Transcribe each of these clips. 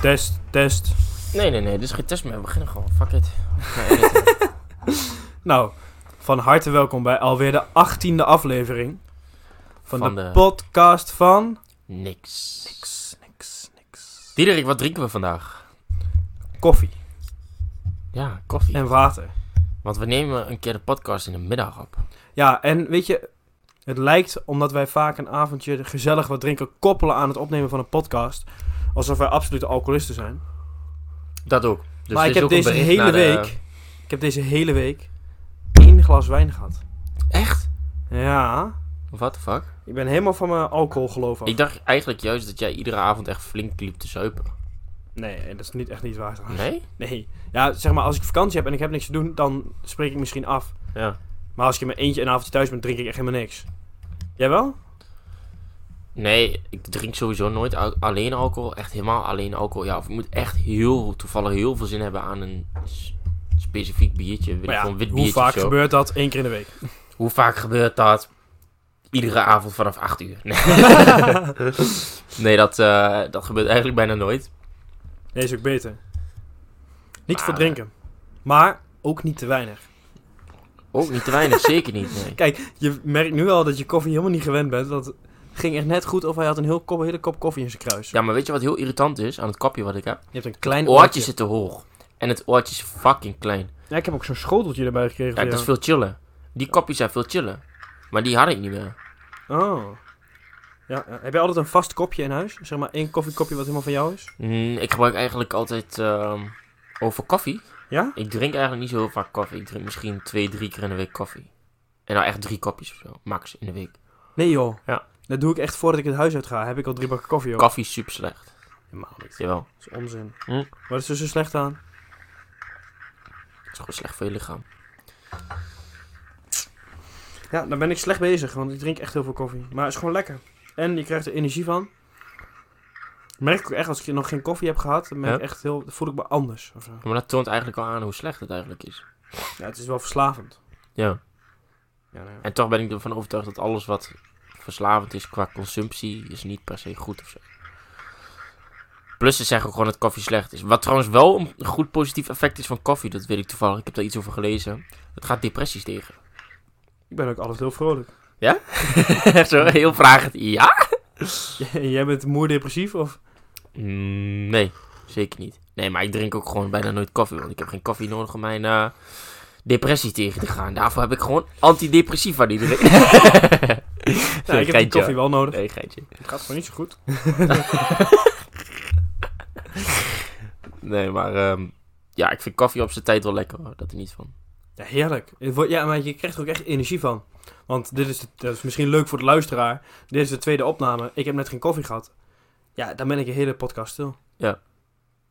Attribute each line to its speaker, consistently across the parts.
Speaker 1: Test, test.
Speaker 2: Nee, nee, nee, dit is geen test meer. We beginnen gewoon. Fuck it.
Speaker 1: Nou, van harte welkom bij alweer de 18e aflevering van,
Speaker 2: Van
Speaker 1: de,
Speaker 2: de-
Speaker 1: podcast van.
Speaker 2: Niks.
Speaker 1: Niks, niks, niks.
Speaker 2: Diederik, wat drinken we vandaag?
Speaker 1: Koffie
Speaker 2: Ja, koffie.
Speaker 1: en water.
Speaker 2: Want we nemen een keer de podcast in de middag op.
Speaker 1: Ja, en weet je, het lijkt omdat wij vaak een avondje gezellig wat drinken koppelen aan het opnemen van een podcast. Alsof wij absolute alcoholisten zijn.
Speaker 2: Dat ook. Dus
Speaker 1: maar
Speaker 2: dit
Speaker 1: ik heb
Speaker 2: is ook een
Speaker 1: deze
Speaker 2: bericht
Speaker 1: hele
Speaker 2: naar de-
Speaker 1: week. Ik heb deze hele week één glas wijn gehad.
Speaker 2: Echt?
Speaker 1: Ja.
Speaker 2: What the fuck?
Speaker 1: Ik ben helemaal van mijn alcohol geloven.
Speaker 2: Ik dacht eigenlijk juist dat jij iedere avond echt flink liep te zuipen.
Speaker 1: Nee, dat is niet, echt niet waar. trouwens.
Speaker 2: Nee?
Speaker 1: Nee. Ja, zeg maar, als ik vakantie heb en ik heb niks te doen, dan spreek ik misschien af.
Speaker 2: Ja.
Speaker 1: Maar als ik in mijn eentje een avondje thuis ben, drink ik echt helemaal niks. Jij wel?
Speaker 2: Nee, ik drink sowieso nooit al- alleen alcohol. Echt helemaal alleen alcohol. Ja, of ik moet echt heel toevallig heel veel zin hebben aan een s- specifiek biertje. Weet
Speaker 1: Maar ja,
Speaker 2: ik veel, een wit
Speaker 1: hoe
Speaker 2: biertje
Speaker 1: vaak
Speaker 2: of zo.
Speaker 1: gebeurt dat? Eén keer in de week.
Speaker 2: Hoe vaak gebeurt dat? Iedere avond vanaf 8 uur. Nee, nee dat, eh, dat gebeurt eigenlijk bijna nooit.
Speaker 1: Nee, is ook beter. Niet
Speaker 2: Maar-
Speaker 1: voor drinken. Maar ook niet te weinig.
Speaker 2: Ook niet te weinig, zeker niet. Nee.
Speaker 1: Kijk, je merkt nu al dat je koffie helemaal niet gewend bent. Dat ging echt net goed of hij had een heel kop, hele kop koffie in zijn kruis.
Speaker 2: Ja, maar weet je wat heel irritant is aan het kopje wat ik heb?
Speaker 1: Je hebt een klein
Speaker 2: Oortje zit te hoog. En het oortje is fucking klein.
Speaker 1: Ja, ik heb ook zo'n schoteltje erbij gekregen.
Speaker 2: Kijk,
Speaker 1: voor
Speaker 2: dat is
Speaker 1: jou.
Speaker 2: veel chiller. Die kopjes zijn veel chiller. Maar die had ik niet meer.
Speaker 1: Oh. Ja, ja. Heb je altijd een vast kopje in huis? Zeg maar één koffiekopje wat helemaal van jou is?
Speaker 2: Mm, ik gebruik eigenlijk altijd ehm, over koffie.
Speaker 1: Ja?
Speaker 2: Ik drink eigenlijk niet zo heel vaak koffie. Ik drink misschien twee, drie keer in de week koffie. En nou echt drie kopjes of zo, max in de week.
Speaker 1: Nee joh.
Speaker 2: Ja.
Speaker 1: Dat doe ik echt voordat ik het huis uit ga. Heb ik al drie bakken koffie op.
Speaker 2: Koffie is super slecht.
Speaker 1: Helemaal niet.
Speaker 2: Jawel.
Speaker 1: Dat is onzin.
Speaker 2: Hm?
Speaker 1: Wat is er zo slecht aan?
Speaker 2: Het is gewoon slecht voor je lichaam.
Speaker 1: Ja, dan ben ik slecht bezig, want ik drink echt heel veel koffie. Maar het is gewoon lekker. En je krijgt er energie van. Merk ik ook echt, als ik nog geen koffie heb gehad, dan, ben ik
Speaker 2: Ja.
Speaker 1: echt heel, dan voel ik me anders. Of zo.
Speaker 2: Maar dat toont eigenlijk al aan hoe slecht het eigenlijk is.
Speaker 1: Ja, het is wel verslavend.
Speaker 2: Ja.
Speaker 1: Ja, nou ja.
Speaker 2: En toch ben ik ervan overtuigd dat alles wat verslavend is qua consumptie, is niet per se goed of zo. Plus ze zeggen ook gewoon dat koffie slecht is. Wat trouwens wel een goed positief effect is van koffie, dat weet ik toevallig. Ik heb daar iets over gelezen. Het gaat depressies tegen.
Speaker 1: Ik ben ook altijd heel vrolijk.
Speaker 2: Echt zo, heel vragend. Ja?
Speaker 1: J- Jij bent moer depressief of?
Speaker 2: Mm, Nee, zeker niet. Nee, maar ik drink ook gewoon bijna nooit koffie, want ik heb geen koffie nodig om mijn eh, depressie tegen te gaan. Daarvoor heb ik gewoon antidepressiva die drink.
Speaker 1: Nou, ik heb die koffie wel nodig.
Speaker 2: Nee, geitje.
Speaker 1: Het gaat gewoon niet zo goed.
Speaker 2: Nee, maar ehm, ja, ik vind koffie op zijn tijd wel lekker hoor. Dat er niet van.
Speaker 1: Ja, heerlijk. Het wordt- Ja, maar je krijgt er ook echt energie van. Want dit is, de- dat is misschien leuk voor de luisteraar. Dit is de tweede opname. Ik heb net geen koffie gehad. Ja, dan ben ik de hele podcast stil.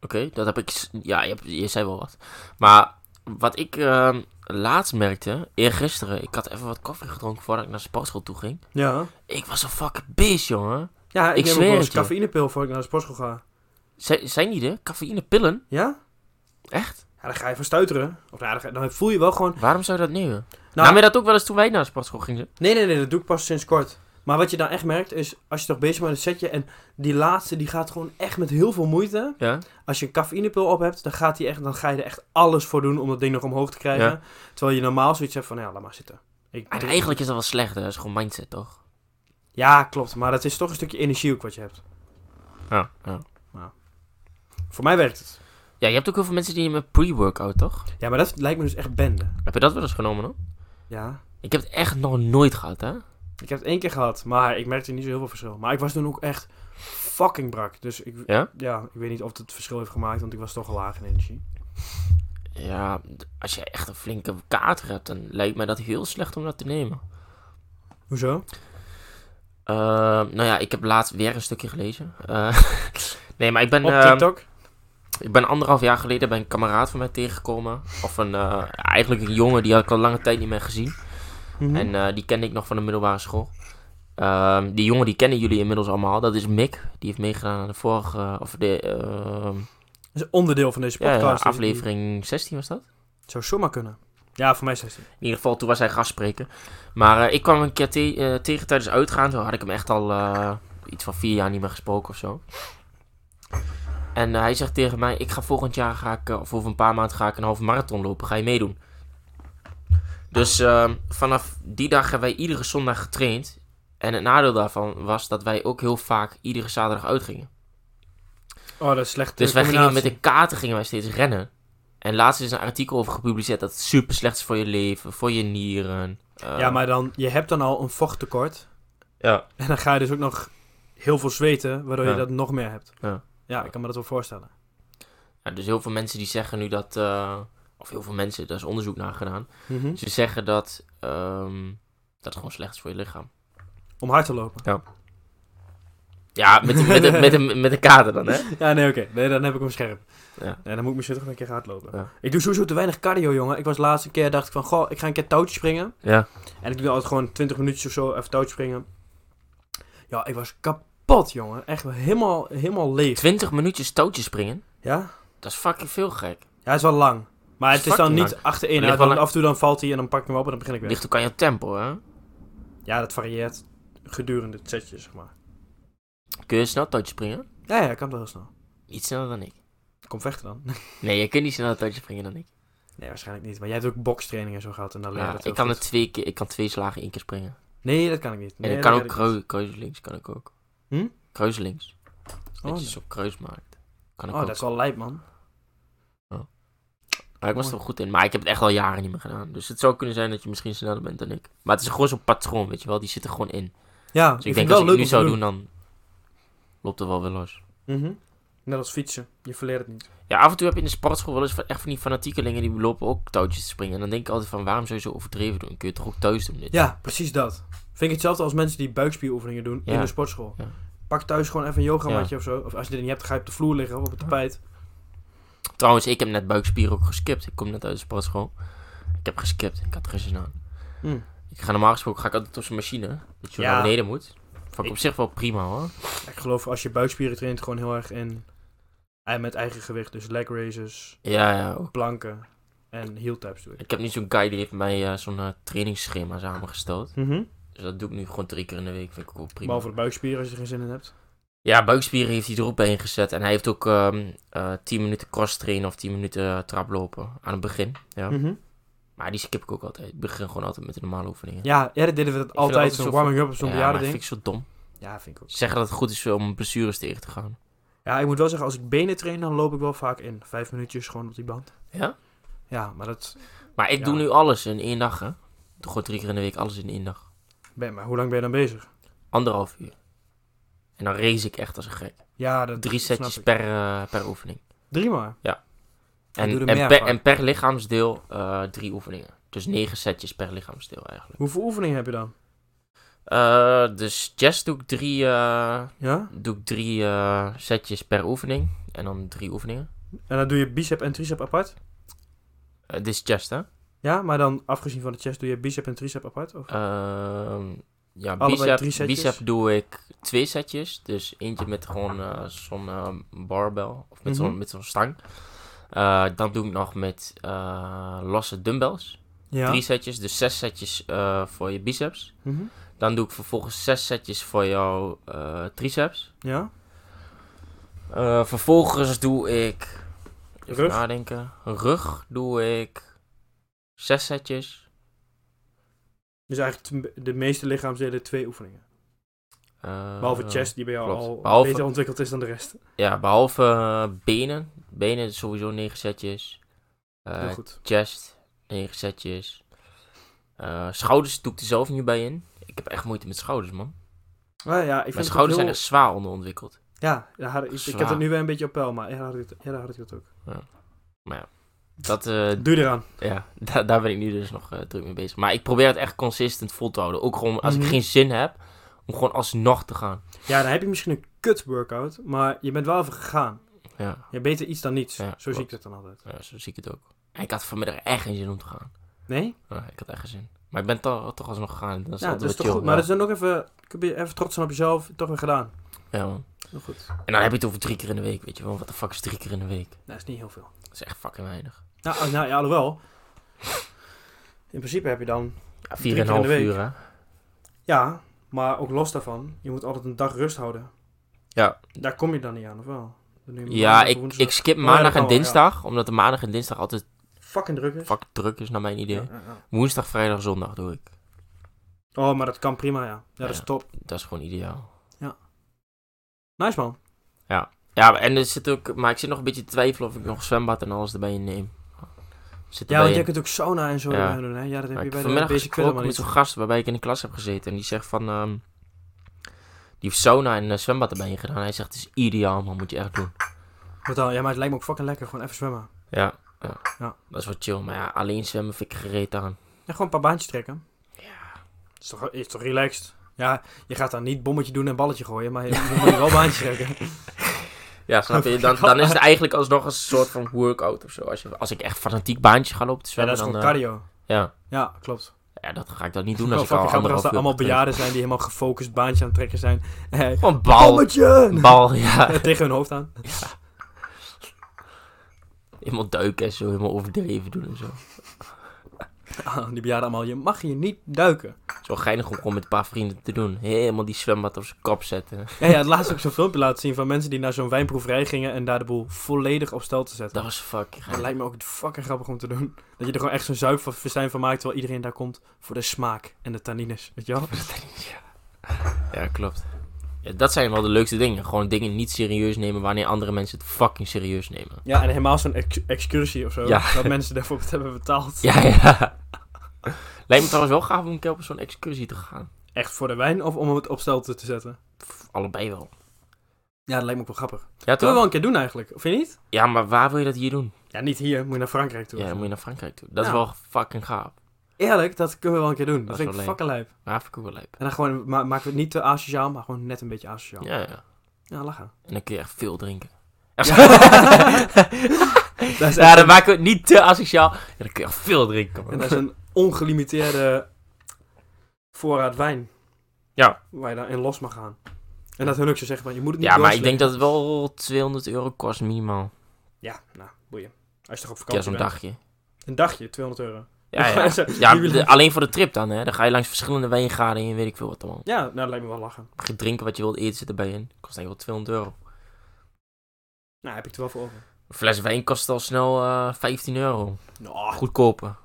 Speaker 2: Oké, dat heb ik. s- Ja, je, hebt- je zei wel wat. Maar wat ik ehm, laatst merkte, eergisteren, ik had even wat koffie gedronken voordat ik naar de sportschool toe ging.
Speaker 1: Ja.
Speaker 2: Ik was een fucking beest, jongen.
Speaker 1: Ja, ik,
Speaker 2: Ik
Speaker 1: neem ook
Speaker 2: zweer
Speaker 1: wel eens
Speaker 2: het je.
Speaker 1: cafeïnepil voor ik naar de sportschool ga.
Speaker 2: Zijn, zijn die er? Cafeïnepillen?
Speaker 1: Ja?
Speaker 2: Echt?
Speaker 1: Ja, dan ga je van stuiteren. Of nou, dan, ga- dan voel je wel gewoon...
Speaker 2: Waarom zou je dat nemen?
Speaker 1: Nou-
Speaker 2: Nou, Nam je dat ook wel eens toen wij naar de sportschool gingen?
Speaker 1: Nee, nee, nee, dat doe ik pas sinds kort. Maar wat je dan echt merkt is, als je toch bezig bent met een setje... en die laatste, die gaat gewoon echt met heel veel moeite.
Speaker 2: Ja.
Speaker 1: Als je een cafeïnepil op hebt, dan, gaat die echt, dan ga je er echt alles voor doen... om dat ding nog omhoog te krijgen.
Speaker 2: Ja.
Speaker 1: Terwijl je normaal zoiets hebt van, ja, laat maar zitten. Ik
Speaker 2: En Ah, eigenlijk is dat wel slecht, hè? Dat is gewoon mindset, toch?
Speaker 1: Ja, klopt. Maar dat is toch een stukje energie ook wat je hebt.
Speaker 2: Ja. Ja,
Speaker 1: Voor mij werkt het.
Speaker 2: ja je hebt ook heel veel mensen die nemen pre-workout, toch?
Speaker 1: Ja, maar dat lijkt me dus echt bende.
Speaker 2: Heb je dat wel eens genomen, hoor?
Speaker 1: Ja.
Speaker 2: Ik heb het echt nog nooit gehad, hè?
Speaker 1: Ik heb het één keer gehad, maar ik merkte niet zo heel veel verschil. Maar ik was toen ook echt fucking brak. Dus ik,
Speaker 2: Ja?
Speaker 1: ik weet niet of het het verschil heeft gemaakt, want ik was toch al laag in energie.
Speaker 2: Ja, d- als je echt een flinke kater hebt, dan lijkt mij dat heel slecht om dat te nemen.
Speaker 1: Hoezo?
Speaker 2: Eh, nou ja, ik heb laatst weer een stukje gelezen. Eh, nee, maar ik ben,
Speaker 1: Op
Speaker 2: eh,
Speaker 1: TikTok?
Speaker 2: ik ben anderhalf jaar geleden bij een kameraad van mij tegengekomen. Of een, eh, eigenlijk een jongen, die had ik al lange tijd niet meer gezien.
Speaker 1: Mhm.
Speaker 2: En eh, die kende ik nog van de middelbare school. Ehm, die jongen, die kennen jullie inmiddels allemaal. Dat is Mick. Die heeft meegedaan aan de vorige, of de ehm,
Speaker 1: Dat is onderdeel van deze
Speaker 2: ja, ja,
Speaker 1: podcast. dus
Speaker 2: aflevering 16 was dat?
Speaker 1: die- Zou zomaar kunnen. Ja, voor mij is het.
Speaker 2: In ieder geval, toen was hij gastspreker. Maar eh, ik kwam hem een keer te- eh, tegen tijdens uitgaan. Toen had ik hem echt al eh, iets van vier jaar niet meer gesproken of zo. En eh, hij zegt tegen mij, ik ga volgend jaar, ga ik, eh, of over een paar maanden ga ik een halve marathon lopen. Ga je meedoen? Dus ehm, vanaf die dag hebben wij iedere zondag getraind. En het nadeel daarvan was dat wij ook heel vaak iedere zaterdag uitgingen.
Speaker 1: Oh, dat is slecht.
Speaker 2: Dus wij gingen met de kater gingen wij steeds rennen. En laatst is een artikel over gepubliceerd dat het super slecht is voor je leven, voor je nieren. eh,
Speaker 1: Ja, maar dan, je hebt dan al een vochttekort.
Speaker 2: Ja.
Speaker 1: En dan ga je dus ook nog heel veel zweten, waardoor
Speaker 2: Ja.
Speaker 1: je dat nog meer hebt.
Speaker 2: Ja.
Speaker 1: ja, ik kan me dat wel voorstellen.
Speaker 2: Ja, dus heel veel mensen die zeggen nu dat. eh, of heel veel mensen, daar is onderzoek naar gedaan.
Speaker 1: Mhm.
Speaker 2: Ze zeggen dat. ehm, dat het gewoon slecht is voor je lichaam.
Speaker 1: Om hard te lopen.
Speaker 2: Ja, met een, met een, met een, met een kader dan, hè?
Speaker 1: Ja, nee, oké. Nee, dan heb ik hem scherp.
Speaker 2: Ja.
Speaker 1: En dan moet ik misschien toch nog een keer hardlopen.
Speaker 2: Ja.
Speaker 1: Ik doe sowieso te weinig cardio, jongen. Ik was de laatste keer, dacht ik van, goh, ik ga een keer touwtje springen.
Speaker 2: Ja.
Speaker 1: En ik doe altijd gewoon 20 minuutjes of zo, even touwtje springen. Ja, ik was kapot, jongen. Echt wel helemaal, helemaal leeg.
Speaker 2: 20 minuutjes touwtjes springen.
Speaker 1: Ja?
Speaker 2: Dat is fucking veel gek.
Speaker 1: Ja, het is wel lang. Maar het is dan
Speaker 2: Fucking
Speaker 1: niet
Speaker 2: lang.
Speaker 1: achter één.
Speaker 2: Ligt
Speaker 1: uit,
Speaker 2: wel
Speaker 1: want
Speaker 2: een-
Speaker 1: Af en toe dan valt hij en dan pak ik hem op en dan begin ik weer.
Speaker 2: Ligt ook aan je tempo, hè?
Speaker 1: Ja, dat varieert gedurende het setje, zeg maar.
Speaker 2: Kun je snel touwtjes springen?
Speaker 1: Ja, ja, ik kan dat heel snel.
Speaker 2: Iets sneller dan ik.
Speaker 1: Kom vechten dan.
Speaker 2: Nee, je kunt niet sneller touwtjes springen dan ik.
Speaker 1: Nee, waarschijnlijk niet. Maar jij hebt ook bokstraining en zo gehad en dan leer je
Speaker 2: Ja,
Speaker 1: dat
Speaker 2: ik
Speaker 1: heel
Speaker 2: kan
Speaker 1: goed.
Speaker 2: er twee keer, ik kan twee slagen één keer springen.
Speaker 1: Nee, dat kan ik niet.
Speaker 2: En
Speaker 1: Nee,
Speaker 2: ik
Speaker 1: dat
Speaker 2: kan ook
Speaker 1: ik
Speaker 2: kreu kruiselings, kan ik ook.
Speaker 1: Hm?
Speaker 2: Kruiselings.
Speaker 1: niet.
Speaker 2: Dat
Speaker 1: Oh,
Speaker 2: je zo'n kruis maakt. Kan
Speaker 1: nee.
Speaker 2: ik
Speaker 1: Oh,
Speaker 2: ook.
Speaker 1: dat is wel lijp, man.
Speaker 2: Maar ik was er wel goed in. Maar ik heb het echt al jaren niet meer gedaan. Dus het zou kunnen zijn dat je misschien sneller bent dan ik. Maar het is gewoon zo'n patroon, weet je wel. Die zit er gewoon in.
Speaker 1: Ja,
Speaker 2: Dus ik,
Speaker 1: ik, vind het
Speaker 2: denk
Speaker 1: wel
Speaker 2: als ik het
Speaker 1: leuk
Speaker 2: nu
Speaker 1: om te
Speaker 2: zou
Speaker 1: doen.
Speaker 2: doen, dan loopt er wel weer los.
Speaker 1: Mhm. Net als fietsen. Je verleert het niet.
Speaker 2: Ja, af en toe heb je in de sportschool wel eens van- echt van die fanatiekelingen die lopen ook touwtjes te springen. En dan denk ik altijd van, waarom zou je zo overdreven doen? Kun je het toch ook thuis doen? Dit?
Speaker 1: Ja, precies dat. Vind ik hetzelfde als mensen die buikspieroefeningen doen
Speaker 2: Ja.
Speaker 1: in de sportschool.
Speaker 2: Ja.
Speaker 1: Pak thuis gewoon even een yogamatje of zo. Of als je dit niet hebt, ga je op de vloer liggen of op het tapijt.
Speaker 2: Trouwens, ik heb net buikspieren ook geskipt. Ik kom net uit de sportschool. Ik heb geskipt. Ik had er geen zin aan.
Speaker 1: Hm.
Speaker 2: Ik ga normaal gesproken ga ik altijd op zo'n machine. Dat je
Speaker 1: Ja.
Speaker 2: naar beneden moet. Vond ik,
Speaker 1: Ik-
Speaker 2: op zich wel prima hoor.
Speaker 1: Ik geloof als je buikspieren traint gewoon heel erg in... En met eigen gewicht, dus leg raises,
Speaker 2: Ja, ja. ook.
Speaker 1: planken en heel taps doe ik.
Speaker 2: Ik heb nu zo'n guy die heeft mij eh, zo'n eh, trainingsschema samengesteld.
Speaker 1: Mhm.
Speaker 2: Dus dat doe ik nu gewoon drie keer in de week. Vind ik ook wel prima.
Speaker 1: Behalve de buikspieren als je er geen zin in hebt.
Speaker 2: Ja, buikspieren heeft hij er ook bij ingezet. En hij heeft ook ehm eh 10 minuten cross trainen of 10 minuten eh, traplopen aan het begin. Ja.
Speaker 1: Mhm.
Speaker 2: Maar die skip ik ook altijd. Ik begin gewoon altijd met de normale oefeningen.
Speaker 1: Ja, ja, dat deden we dat
Speaker 2: dat
Speaker 1: altijd.
Speaker 2: altijd
Speaker 1: Zo'n
Speaker 2: zo
Speaker 1: warming-up op zo'n
Speaker 2: Ja, maar
Speaker 1: bejaarde
Speaker 2: dat vind
Speaker 1: ding.
Speaker 2: ik zo dom.
Speaker 1: Ja, vind ik ook.
Speaker 2: Ze zeggen dat het goed is om blessures tegen te gaan.
Speaker 1: Ja, ik moet wel zeggen, als ik benen train, dan loop ik wel vaak in. Vijf minuutjes gewoon op die band.
Speaker 2: Ja?
Speaker 1: Ja, maar dat...
Speaker 2: Maar ik doe
Speaker 1: Ja.
Speaker 2: nu alles in één dag, hè. Gewoon drie keer in de week alles in één dag.
Speaker 1: Ben, maar hoe lang ben je dan bezig?
Speaker 2: Anderhalf uur. En dan race ik echt als een gek.
Speaker 1: Ja, dat
Speaker 2: Drie
Speaker 1: snap
Speaker 2: setjes
Speaker 1: ik.
Speaker 2: per, eh, per oefening.
Speaker 1: Drie maar.
Speaker 2: En,
Speaker 1: doe er
Speaker 2: en,
Speaker 1: meer
Speaker 2: per,
Speaker 1: van.
Speaker 2: en per lichaamsdeel eh, drie oefeningen. Dus negen setjes per lichaamsdeel eigenlijk.
Speaker 1: Hoeveel oefeningen heb je dan?
Speaker 2: Eh, dus chest doe ik drie, eh,
Speaker 1: Ja?
Speaker 2: doe ik drie eh, setjes per oefening. En dan drie oefeningen.
Speaker 1: En dan doe je bicep en tricep apart?
Speaker 2: Eh, dit is chest, hè?
Speaker 1: Ja, maar dan afgezien van de chest doe je bicep en tricep apart? Of?
Speaker 2: Ehm, ja,
Speaker 1: Allebei
Speaker 2: bicep,
Speaker 1: drie setjes?
Speaker 2: bicep doe ik twee setjes. Dus eentje met gewoon eh, zo'n eh, barbel of met
Speaker 1: Mhm.
Speaker 2: zo'n met zo'n stang. Eh, dan doe ik nog met eh, losse dumbbells.
Speaker 1: ja.
Speaker 2: Drie setjes, dus zes setjes eh, voor je biceps.
Speaker 1: Mhm.
Speaker 2: Dan doe ik vervolgens zes setjes voor jouw eh, triceps.
Speaker 1: Ja?
Speaker 2: Eh, vervolgens doe ik... Even
Speaker 1: Rug?
Speaker 2: nadenken. Rug doe ik zes setjes.
Speaker 1: Dus eigenlijk t- de meeste lichaamsdelen twee oefeningen.
Speaker 2: Eh,
Speaker 1: Behalve chest, die bij jou
Speaker 2: klopt.
Speaker 1: al
Speaker 2: Behalve-
Speaker 1: beter ontwikkeld is dan de rest.
Speaker 2: Ja, behalve eh, benen. Benen is sowieso 9 setjes. Eh,
Speaker 1: Heel goed.
Speaker 2: chest, 9 setjes. Eh, schouders doe ik er zelf niet bij in. Ik heb echt moeite met schouders, man.
Speaker 1: Maar ja, ik
Speaker 2: Mijn
Speaker 1: vind het
Speaker 2: schouders
Speaker 1: ook
Speaker 2: zijn
Speaker 1: heel-
Speaker 2: echt zwaar onderontwikkeld.
Speaker 1: Ja, daar had ik, ik heb
Speaker 2: zwaar.
Speaker 1: het nu weer een beetje op peil, maar eerder had ik, het- eerder had ik dat ook.
Speaker 2: Dat, eh,
Speaker 1: Doe je eraan.
Speaker 2: ja, da- daar ben ik nu dus nog eh, druk mee bezig. Maar ik probeer het echt consistent vol te houden. Ook gewoon als
Speaker 1: Mhm.
Speaker 2: ik geen zin heb, om gewoon alsnog te gaan.
Speaker 1: Ja, dan heb je misschien een kut workout, maar je bent wel even gegaan.
Speaker 2: Ja,
Speaker 1: Ja, beter iets dan niets.
Speaker 2: Ja,
Speaker 1: zo zie ik
Speaker 2: klopt.
Speaker 1: dat dan altijd.
Speaker 2: ja, zo zie ik het ook. En ik had vanmiddag echt geen zin om te gaan.
Speaker 1: Nee?
Speaker 2: Ja, ik had echt geen zin. Maar ik ben toch, toch alsnog gegaan. Dat is
Speaker 1: ja,
Speaker 2: altijd
Speaker 1: dat is
Speaker 2: wel
Speaker 1: toch
Speaker 2: chill,
Speaker 1: goed. Maar
Speaker 2: ja.
Speaker 1: dat is dan ook even, kun je even trots zijn op jezelf. Toch weer gedaan.
Speaker 2: Ja, man.
Speaker 1: Heel goed.
Speaker 2: En dan heb je het over drie keer in de week, weet je wel. Wat de fuck is drie keer in de week?
Speaker 1: Nou, is niet heel veel.
Speaker 2: Dat is echt fucking weinig.
Speaker 1: Nou, als- nou ja, alhoewel. In principe heb je dan...
Speaker 2: Ja,
Speaker 1: Drie
Speaker 2: vier
Speaker 1: keer
Speaker 2: en
Speaker 1: in
Speaker 2: een
Speaker 1: de
Speaker 2: half
Speaker 1: week.
Speaker 2: uur, hè?
Speaker 1: Ja, maar ook los daarvan. Je moet altijd een dag rust houden.
Speaker 2: Ja.
Speaker 1: Daar kom je dan niet aan, of wel? Nu
Speaker 2: Ja,
Speaker 1: maandag,
Speaker 2: ik,
Speaker 1: woensdag.
Speaker 2: ik skip
Speaker 1: Oh, ja, dat
Speaker 2: maandag
Speaker 1: kan
Speaker 2: en
Speaker 1: wel, ja.
Speaker 2: dinsdag, omdat de maandag en dinsdag altijd
Speaker 1: Fucking druk is.
Speaker 2: fuck druk is, naar mijn idee.
Speaker 1: Ja, ja, ja.
Speaker 2: Woensdag, vrijdag, zondag doe ik.
Speaker 1: Oh, maar dat kan prima, ja. Ja, dat
Speaker 2: Ja.
Speaker 1: is top.
Speaker 2: Dat is gewoon ideaal.
Speaker 1: Nice, man.
Speaker 2: Ja, en er zit ook, maar ik zit nog een beetje te twijfelen of ik nog zwembad en alles erbij neem. Zit
Speaker 1: Ja, want
Speaker 2: erbij
Speaker 1: je
Speaker 2: in.
Speaker 1: kunt ook sauna en zo
Speaker 2: Ja.
Speaker 1: bij doen, hè? Ja, dat heb
Speaker 2: Maar
Speaker 1: je
Speaker 2: ik
Speaker 1: bij
Speaker 2: heb
Speaker 1: de
Speaker 2: vanmiddag
Speaker 1: basic
Speaker 2: gesproken
Speaker 1: wel, maar
Speaker 2: met
Speaker 1: niet.
Speaker 2: zo'n gast waarbij ik in de klas heb gezeten. En die zegt van, ehm, die heeft sauna en eh, zwembad erbij ingedaan. Hij zegt, het is ideaal man, moet je echt doen.
Speaker 1: Wat dan? Ja, maar het lijkt me ook fucking lekker. Gewoon even zwemmen.
Speaker 2: Ja, ja.
Speaker 1: Ja.
Speaker 2: dat is wel chill. Maar ja, alleen zwemmen vind ik gereed aan.
Speaker 1: En gewoon een paar baantjes trekken. Ja. Is toch, is toch relaxed? Ja, je gaat dan niet bommetje doen en balletje gooien, maar je je moet wel baantjes trekken.
Speaker 2: Ja, snap je? Dan, dan is het eigenlijk alsnog een soort van workout of zo. Als, je, als ik echt fanatiek baantje ga lopen te
Speaker 1: Ja,
Speaker 2: zwemmen,
Speaker 1: dat is gewoon
Speaker 2: dan... eh,
Speaker 1: cardio.
Speaker 2: ja.
Speaker 1: Ja, klopt.
Speaker 2: ja, dat ga ik dan niet doen
Speaker 1: Wel
Speaker 2: als ik al
Speaker 1: fucking grappig als
Speaker 2: anderhalf
Speaker 1: er
Speaker 2: uur
Speaker 1: allemaal
Speaker 2: heb
Speaker 1: bejaarden
Speaker 2: getraind.
Speaker 1: zijn die helemaal gefocust baantje aan het trekken zijn. Eh,
Speaker 2: Gewoon bal.
Speaker 1: Bommetje!
Speaker 2: Bal, ja.
Speaker 1: Tegen hun hoofd aan.
Speaker 2: Helemaal duiken en zo, helemaal overdreven doen en zo.
Speaker 1: Ah, Die bejaarden allemaal, je mag hier niet duiken.
Speaker 2: Zo geinig om gewoon met een paar vrienden te doen. Helemaal die zwembad op zijn kop zetten.
Speaker 1: Ja, ja, het laatst heb ik zo'n filmpje laten zien van mensen die naar zo'n wijnproeverij gingen en daar de boel volledig op stel te zetten.
Speaker 2: Dat was fucking
Speaker 1: Dat
Speaker 2: geinig.
Speaker 1: lijkt me ook fucking grappig om te doen. Dat je er gewoon echt zo'n zuipverstijn van maakt, terwijl iedereen daar komt voor de smaak en de tannines. Weet je wel?
Speaker 2: Ja, klopt. Ja, dat zijn wel de leukste dingen. Gewoon dingen niet serieus nemen wanneer andere mensen het fucking serieus nemen.
Speaker 1: Ja, en helemaal zo'n ex- excursie of zo.
Speaker 2: Ja.
Speaker 1: Dat mensen daarvoor wat hebben betaald.
Speaker 2: Ja, ja. Lijkt me trouwens wel gaaf om een keer op zo'n excursie te gaan.
Speaker 1: Echt voor de wijn of om het op stel te te zetten?
Speaker 2: Pff, allebei wel.
Speaker 1: Ja, dat lijkt me ook wel grappig.
Speaker 2: Ja,
Speaker 1: Dat kunnen we
Speaker 2: toch?
Speaker 1: wel een keer doen eigenlijk, of je niet?
Speaker 2: Ja, maar waar wil je dat hier doen?
Speaker 1: Ja, niet hier. Moet je naar Frankrijk toe.
Speaker 2: Ja,
Speaker 1: of
Speaker 2: dan
Speaker 1: zo.
Speaker 2: moet je naar Frankrijk toe. Dat is
Speaker 1: Ja.
Speaker 2: wel fucking gaaf.
Speaker 1: Eerlijk, dat kunnen we wel een keer doen. Dat,
Speaker 2: Dat is
Speaker 1: vind ik
Speaker 2: wel leuk.
Speaker 1: fucking lijp.
Speaker 2: Maar vind ik ook wel leuk.
Speaker 1: En dan gewoon, ma- maken we het niet te asociaal, maar gewoon net een beetje asociaal. Ja,
Speaker 2: Ja, ja.
Speaker 1: lachen.
Speaker 2: En dan kun je echt veel drinken.
Speaker 1: Dat is
Speaker 2: ja,
Speaker 1: echt
Speaker 2: dan maken we eh, het niet te asociaal. Ja, dan kun je echt veel drinken. man.
Speaker 1: En dat is een ongelimiteerde voorraad wijn.
Speaker 2: Ja.
Speaker 1: Waar je dan in los mag gaan. En dat hun ook zo zeggen, van, je moet het niet
Speaker 2: Ja, maar ik denk
Speaker 1: doorslikken.
Speaker 2: dat het wel 200 euro kost minimaal.
Speaker 1: Ja, nou, boeien. Als je toch op
Speaker 2: Ja,
Speaker 1: vakantie
Speaker 2: zo'n
Speaker 1: bent.
Speaker 2: dagje.
Speaker 1: Een dagje, 200 euro.
Speaker 2: Ja, ja.
Speaker 1: Zo,
Speaker 2: Ja,
Speaker 1: wie wil-
Speaker 2: de- alleen voor de trip dan, hè. Dan ga je langs verschillende wijngaarden en weet ik veel wat allemaal.
Speaker 1: ja, nou, dat lijkt me wel lachen.
Speaker 2: Mag je drinken wat je wilt eten zit erbij in. Kost eigenlijk wel 200 euro.
Speaker 1: Nou, heb ik er wel voor over.
Speaker 2: Een fles wijn kost al snel eh 15 euro.
Speaker 1: Nou,
Speaker 2: Goedkoper.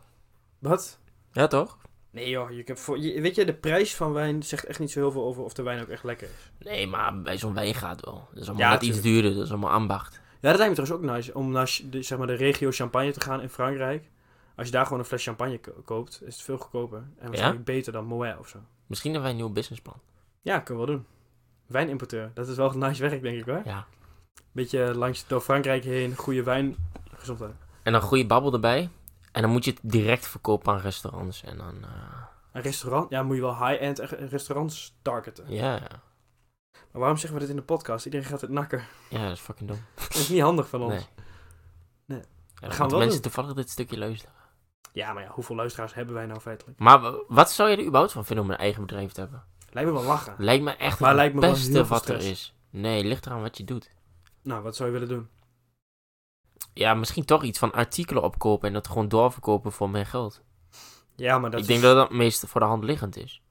Speaker 1: wat?
Speaker 2: Ja, toch?
Speaker 1: Nee joh, je kunt voor, je- weet je, de prijs van wijn zegt echt niet zo heel veel over of de wijn ook echt lekker is.
Speaker 2: Nee, maar bij zo'n wijngaard wel. Dat is allemaal
Speaker 1: Ja,
Speaker 2: net iets duurder. Dat is allemaal ambacht.
Speaker 1: Ja, dat lijkt me trouwens ook nice, om naar ch- de, zeg maar, de regio Champagne te gaan in Frankrijk. Als je daar gewoon een fles champagne ko- koopt, is het veel goedkoper. En waarschijnlijk beter dan Moët of zo.
Speaker 2: Misschien hebben wij een nieuw businessplan.
Speaker 1: Ja, kunnen we wel doen. Wijnimporteur, dat is wel een nice werk, denk ik hoor.
Speaker 2: Ja.
Speaker 1: Beetje langs door Frankrijk heen, goede wijn, gezondheid.
Speaker 2: En dan goede babbel erbij. En dan moet je het direct verkopen aan restaurants. En dan... eh,
Speaker 1: Een restaurant, ja, moet je wel high-end echt restaurants targeten.
Speaker 2: Ja, ja.
Speaker 1: Maar waarom zeggen we dit in de podcast? Iedereen gaat het nakken.
Speaker 2: Ja, dat is fucking dom.
Speaker 1: Dat is niet handig van ons.
Speaker 2: Nee.
Speaker 1: Nee.
Speaker 2: Ja, dan
Speaker 1: Gaan we
Speaker 2: gaan
Speaker 1: wel
Speaker 2: mensen
Speaker 1: doen.
Speaker 2: toevallig dit stukje luisteren.
Speaker 1: Ja, maar ja, hoeveel luisteraars hebben wij nou feitelijk?
Speaker 2: Maar w- wat zou je er überhaupt van vinden om een eigen bedrijf te hebben?
Speaker 1: Lijkt me wel lachen.
Speaker 2: Lijkt me echt
Speaker 1: Maar
Speaker 2: het
Speaker 1: lijkt me wel heel
Speaker 2: beste
Speaker 1: veel
Speaker 2: wat er
Speaker 1: stress.
Speaker 2: is. Nee, ligt eraan wat je doet.
Speaker 1: Nou, wat zou je willen doen?
Speaker 2: Ja, misschien toch iets van artikelen opkopen en dat gewoon doorverkopen voor mijn geld.
Speaker 1: Ja, maar dat
Speaker 2: ik
Speaker 1: is-
Speaker 2: denk dat dat het meest voor de hand liggend is.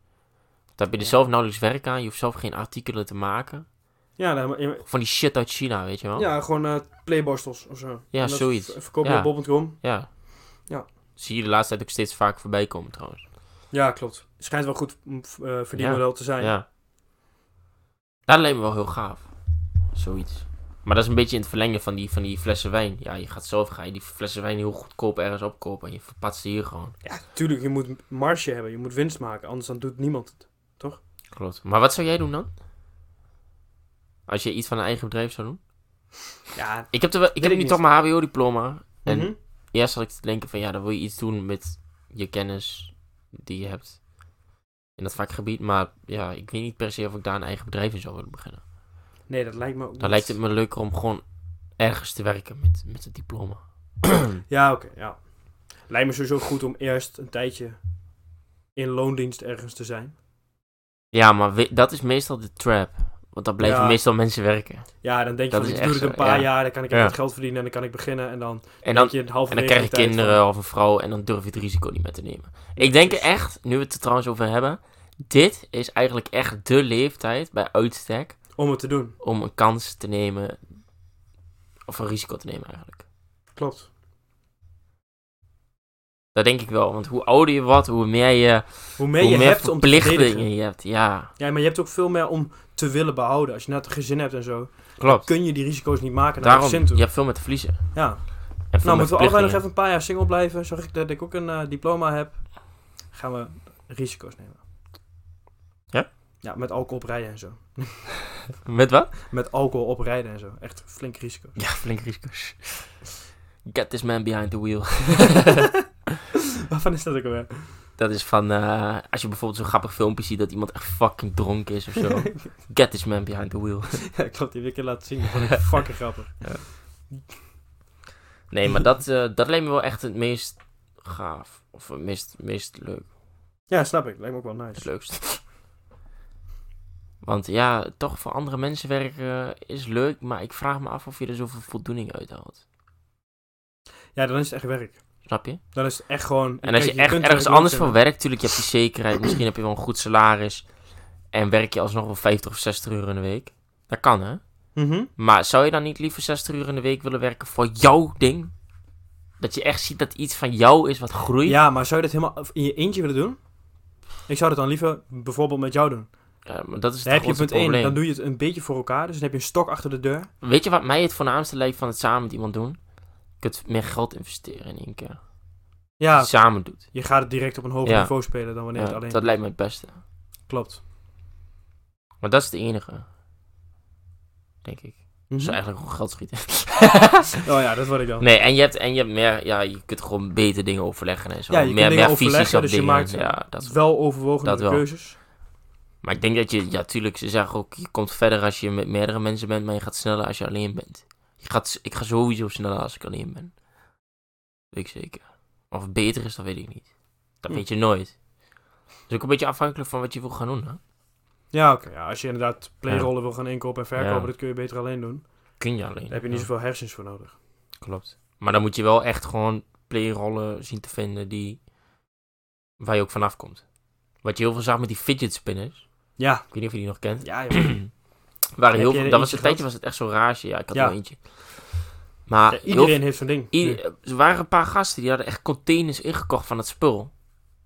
Speaker 2: Want Dan heb je er
Speaker 1: Ja.
Speaker 2: zelf nauwelijks werk aan, je hoeft zelf geen artikelen te maken.
Speaker 1: Ja, nou, maar- ja,
Speaker 2: Van die shit uit China, weet je wel?
Speaker 1: ja, gewoon eh playborstels of zo.
Speaker 2: Oh. Ja,
Speaker 1: En dat
Speaker 2: zoiets.
Speaker 1: v- Verkopen
Speaker 2: Ja.
Speaker 1: op bol.com.
Speaker 2: Ja.
Speaker 1: Ja.
Speaker 2: Zie je de laatste tijd ook steeds vaak voorbij komen trouwens.
Speaker 1: Ja, klopt. Schijnt wel goed mm, v- eh verdienmodel te zijn.
Speaker 2: Ja. Nou, Dat lijkt me wel heel gaaf. Zoiets. Maar dat is een beetje in het verlengen van die, van die flessen wijn. Ja, je gaat zelf ga je die flessen wijn heel goedkoop ergens opkopen en je verpatst ze hier gewoon.
Speaker 1: Ja, tuurlijk, je moet marge hebben, je moet winst maken, anders dan doet niemand het.
Speaker 2: Klopt. Maar wat zou jij doen dan? Als je iets van een eigen bedrijf zou doen?
Speaker 1: Ja,
Speaker 2: Ik heb, er wel, ik heb
Speaker 1: ik
Speaker 2: nu
Speaker 1: niet.
Speaker 2: toch mijn HBO-diploma. En
Speaker 1: mhm.
Speaker 2: eerst zat ik te denken van ja, dan wil je iets doen met je kennis die je hebt in dat vakgebied. Maar ja, ik weet niet per se of ik daar een eigen bedrijf in zou willen beginnen.
Speaker 1: nee, dat lijkt me ook
Speaker 2: Dan
Speaker 1: niet.
Speaker 2: lijkt het me leuker om gewoon ergens te werken met, met het diploma.
Speaker 1: Ja, oké, ja. Lijkt me sowieso goed om eerst een tijdje in loondienst ergens te zijn.
Speaker 2: Ja, maar we- dat is meestal de trap. Want dan blijven
Speaker 1: Ja.
Speaker 2: meestal mensen werken.
Speaker 1: Ja, dan denk je van,
Speaker 2: Dat is
Speaker 1: ik
Speaker 2: echt
Speaker 1: doe het een
Speaker 2: zo,
Speaker 1: paar
Speaker 2: ja.
Speaker 1: jaar, dan kan ik
Speaker 2: Ja.
Speaker 1: even wat geld verdienen en dan kan ik beginnen. En dan,
Speaker 2: En dan,
Speaker 1: denk je
Speaker 2: en
Speaker 1: halverwege
Speaker 2: dan krijg je
Speaker 1: de tijd van-
Speaker 2: kinderen of een vrouw en dan durf je het risico niet meer te nemen. Ik denk echt, nu we het er trouwens over hebben, dit is eigenlijk echt de leeftijd bij uitstek
Speaker 1: om het te doen.
Speaker 2: om een kans te nemen Of een risico te nemen eigenlijk.
Speaker 1: Klopt.
Speaker 2: Dat denk ik wel, want hoe ouder je wordt, hoe meer je,
Speaker 1: Hoe meer
Speaker 2: hoe
Speaker 1: je
Speaker 2: meer
Speaker 1: hebt om te verdedigen.
Speaker 2: verplichtingen je hebt. Ja,
Speaker 1: Ja, maar je hebt ook veel meer om te willen behouden. Als je net een gezin hebt en zo,
Speaker 2: klopt.
Speaker 1: kun je die risico's niet maken naar
Speaker 2: Daarom,
Speaker 1: je gezin toe.
Speaker 2: je hebt veel meer te verliezen. En
Speaker 1: Ja.
Speaker 2: veel
Speaker 1: Nou,
Speaker 2: meer
Speaker 1: moeten we allebei nog
Speaker 2: verplichtingen.
Speaker 1: even een paar jaar single blijven. Zorg ik dat ik ook een eh, diploma heb. Gaan we risico's nemen.
Speaker 2: Ja?
Speaker 1: Ja, met alcohol oprijden en zo.
Speaker 2: Met wat?
Speaker 1: Met alcohol oprijden en zo. Echt flink risico.
Speaker 2: Ja, flink risico's. Get this man behind the wheel.
Speaker 1: Waarvan is dat ook alweer?
Speaker 2: Dat is van, eh, als je bijvoorbeeld zo'n grappig filmpje ziet dat iemand echt fucking dronken is of zo. Get this man behind the wheel.
Speaker 1: ja, klopt. Die heb ik een keer laten zien. Dat vond ik fucking grappig.
Speaker 2: Nee, maar dat, eh, dat leek me wel echt het meest gaaf. Of het meest, meest leuk.
Speaker 1: Ja, snap ik. Lijkt me ook wel
Speaker 2: Het
Speaker 1: nice.
Speaker 2: leukst. Want ja, toch voor andere mensen werken is leuk, maar ik vraag me af of je er zoveel voldoening uit haalt.
Speaker 1: Ja, dan is het echt werk.
Speaker 2: Snap je?
Speaker 1: Dan is het echt gewoon...
Speaker 2: En als je
Speaker 1: Kijk,
Speaker 2: echt
Speaker 1: kunt
Speaker 2: ergens
Speaker 1: er ook
Speaker 2: anders voor
Speaker 1: leuk
Speaker 2: werkt, tuurlijk, je hebt die zekerheid. Misschien heb je wel een goed salaris. En werk je alsnog wel 50 of 60 uur in de week. Dat kan, hè?
Speaker 1: zijn. Mhm.
Speaker 2: Maar zou je dan niet liever 60 uur in de week willen werken voor jouw ding? Dat je echt ziet dat iets van jou is wat groeit.
Speaker 1: Ja, maar zou je dat helemaal in je eentje willen doen? Ik zou dat dan liever bijvoorbeeld met jou doen.
Speaker 2: Ja, maar dat is het
Speaker 1: Dan heb je
Speaker 2: grootste
Speaker 1: punt 1,
Speaker 2: probleem.
Speaker 1: dan doe je het een beetje voor elkaar. Dus dan heb je een stok achter de deur.
Speaker 2: Weet je wat mij het voornaamste lijkt van het samen met iemand doen? Je kunt meer geld investeren in één keer. Als je
Speaker 1: Ja,
Speaker 2: het samen doet.
Speaker 1: je gaat het direct op een hoger
Speaker 2: Ja.
Speaker 1: niveau spelen dan wanneer
Speaker 2: Ja,
Speaker 1: het alleen
Speaker 2: dat lijkt me het beste.
Speaker 1: klopt.
Speaker 2: Maar dat is het enige. Denk ik.
Speaker 1: Mhm.
Speaker 2: Dus eigenlijk gewoon geld schieten.
Speaker 1: Oh ja, dat word ik dan.
Speaker 2: nee, en je hebt, en je hebt meer, ja, je kunt gewoon beter dingen overleggen en zo.
Speaker 1: Ja, je kunt
Speaker 2: meer,
Speaker 1: dingen
Speaker 2: meer visies
Speaker 1: overleggen,
Speaker 2: op
Speaker 1: dus je
Speaker 2: dingen.
Speaker 1: maakt-
Speaker 2: ja, dat
Speaker 1: wel overwogen
Speaker 2: dat
Speaker 1: de
Speaker 2: wel.
Speaker 1: keuzes.
Speaker 2: Maar ik denk dat je, ja, tuurlijk, ze zeggen ook, je komt verder als je met meerdere mensen bent, maar je gaat sneller als je alleen bent. Je gaat, ik ga sowieso sneller als ik alleen ben. Weet ik zeker. Of het beter is, dat weet ik niet. Dat
Speaker 1: Hm.
Speaker 2: weet je nooit. Dat is ook een beetje afhankelijk van wat je wil gaan doen, hè?
Speaker 1: Ja, oké. Ja, als je inderdaad playrollen wil gaan inkopen en verkopen,
Speaker 2: Ja.
Speaker 1: dat kun je beter alleen doen.
Speaker 2: Kun je alleen.
Speaker 1: Daar heb je niet zoveel hersens voor nodig.
Speaker 2: Klopt. Maar dan moet je wel echt gewoon playrollen zien te vinden die... waar je ook vanaf komt. Wat je heel veel zag met die fidget spinners.
Speaker 1: Ja,
Speaker 2: Ik weet niet of je die nog kent.
Speaker 1: ja, joh.
Speaker 2: Waren
Speaker 1: Heb
Speaker 2: heel
Speaker 1: je
Speaker 2: veel,
Speaker 1: er
Speaker 2: dat was
Speaker 1: eentje
Speaker 2: een tijdje
Speaker 1: gehad?
Speaker 2: was het echt zo'n rage. Ja, ik had
Speaker 1: Ja.
Speaker 2: er wel eentje. Maar
Speaker 1: Ja,
Speaker 2: heel
Speaker 1: iedereen heeft zo'n ding.
Speaker 2: I- er waren een paar gasten die hadden echt containers ingekocht van het spul.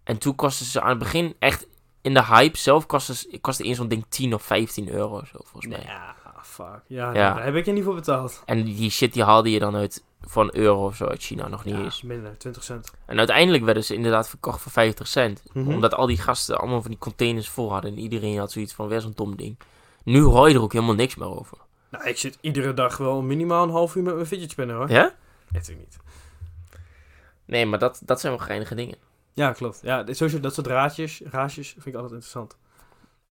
Speaker 2: En toen kostten ze aan het begin echt in de hype zelf kostte, ze- kostte één zo'n ding 10 of 15 euro zo, volgens mij.
Speaker 1: Nee. Ja, fuck. Ja,
Speaker 2: Ja.
Speaker 1: daar heb ik je niet voor betaald.
Speaker 2: En die shit die haalde je dan uit voor een euro of zo uit China nog niet
Speaker 1: Ja,
Speaker 2: eens.
Speaker 1: minder, 20 cent.
Speaker 2: En uiteindelijk werden ze inderdaad verkocht voor 50 cent.
Speaker 1: Mhm.
Speaker 2: Omdat al die gasten allemaal van die containers vol hadden. En iedereen had zoiets van weer zo'n dom ding. Nu hoor je er ook helemaal niks meer over.
Speaker 1: Nou, ik zit iedere dag wel minimaal een half uur met mijn fidget spinner, hoor.
Speaker 2: Ja?
Speaker 1: Weet ik niet.
Speaker 2: Nee, maar dat, dat zijn wel geinige dingen.
Speaker 1: Ja, klopt. Ja, dit- sowieso dat soort raadjes, raadjes vind ik altijd interessant.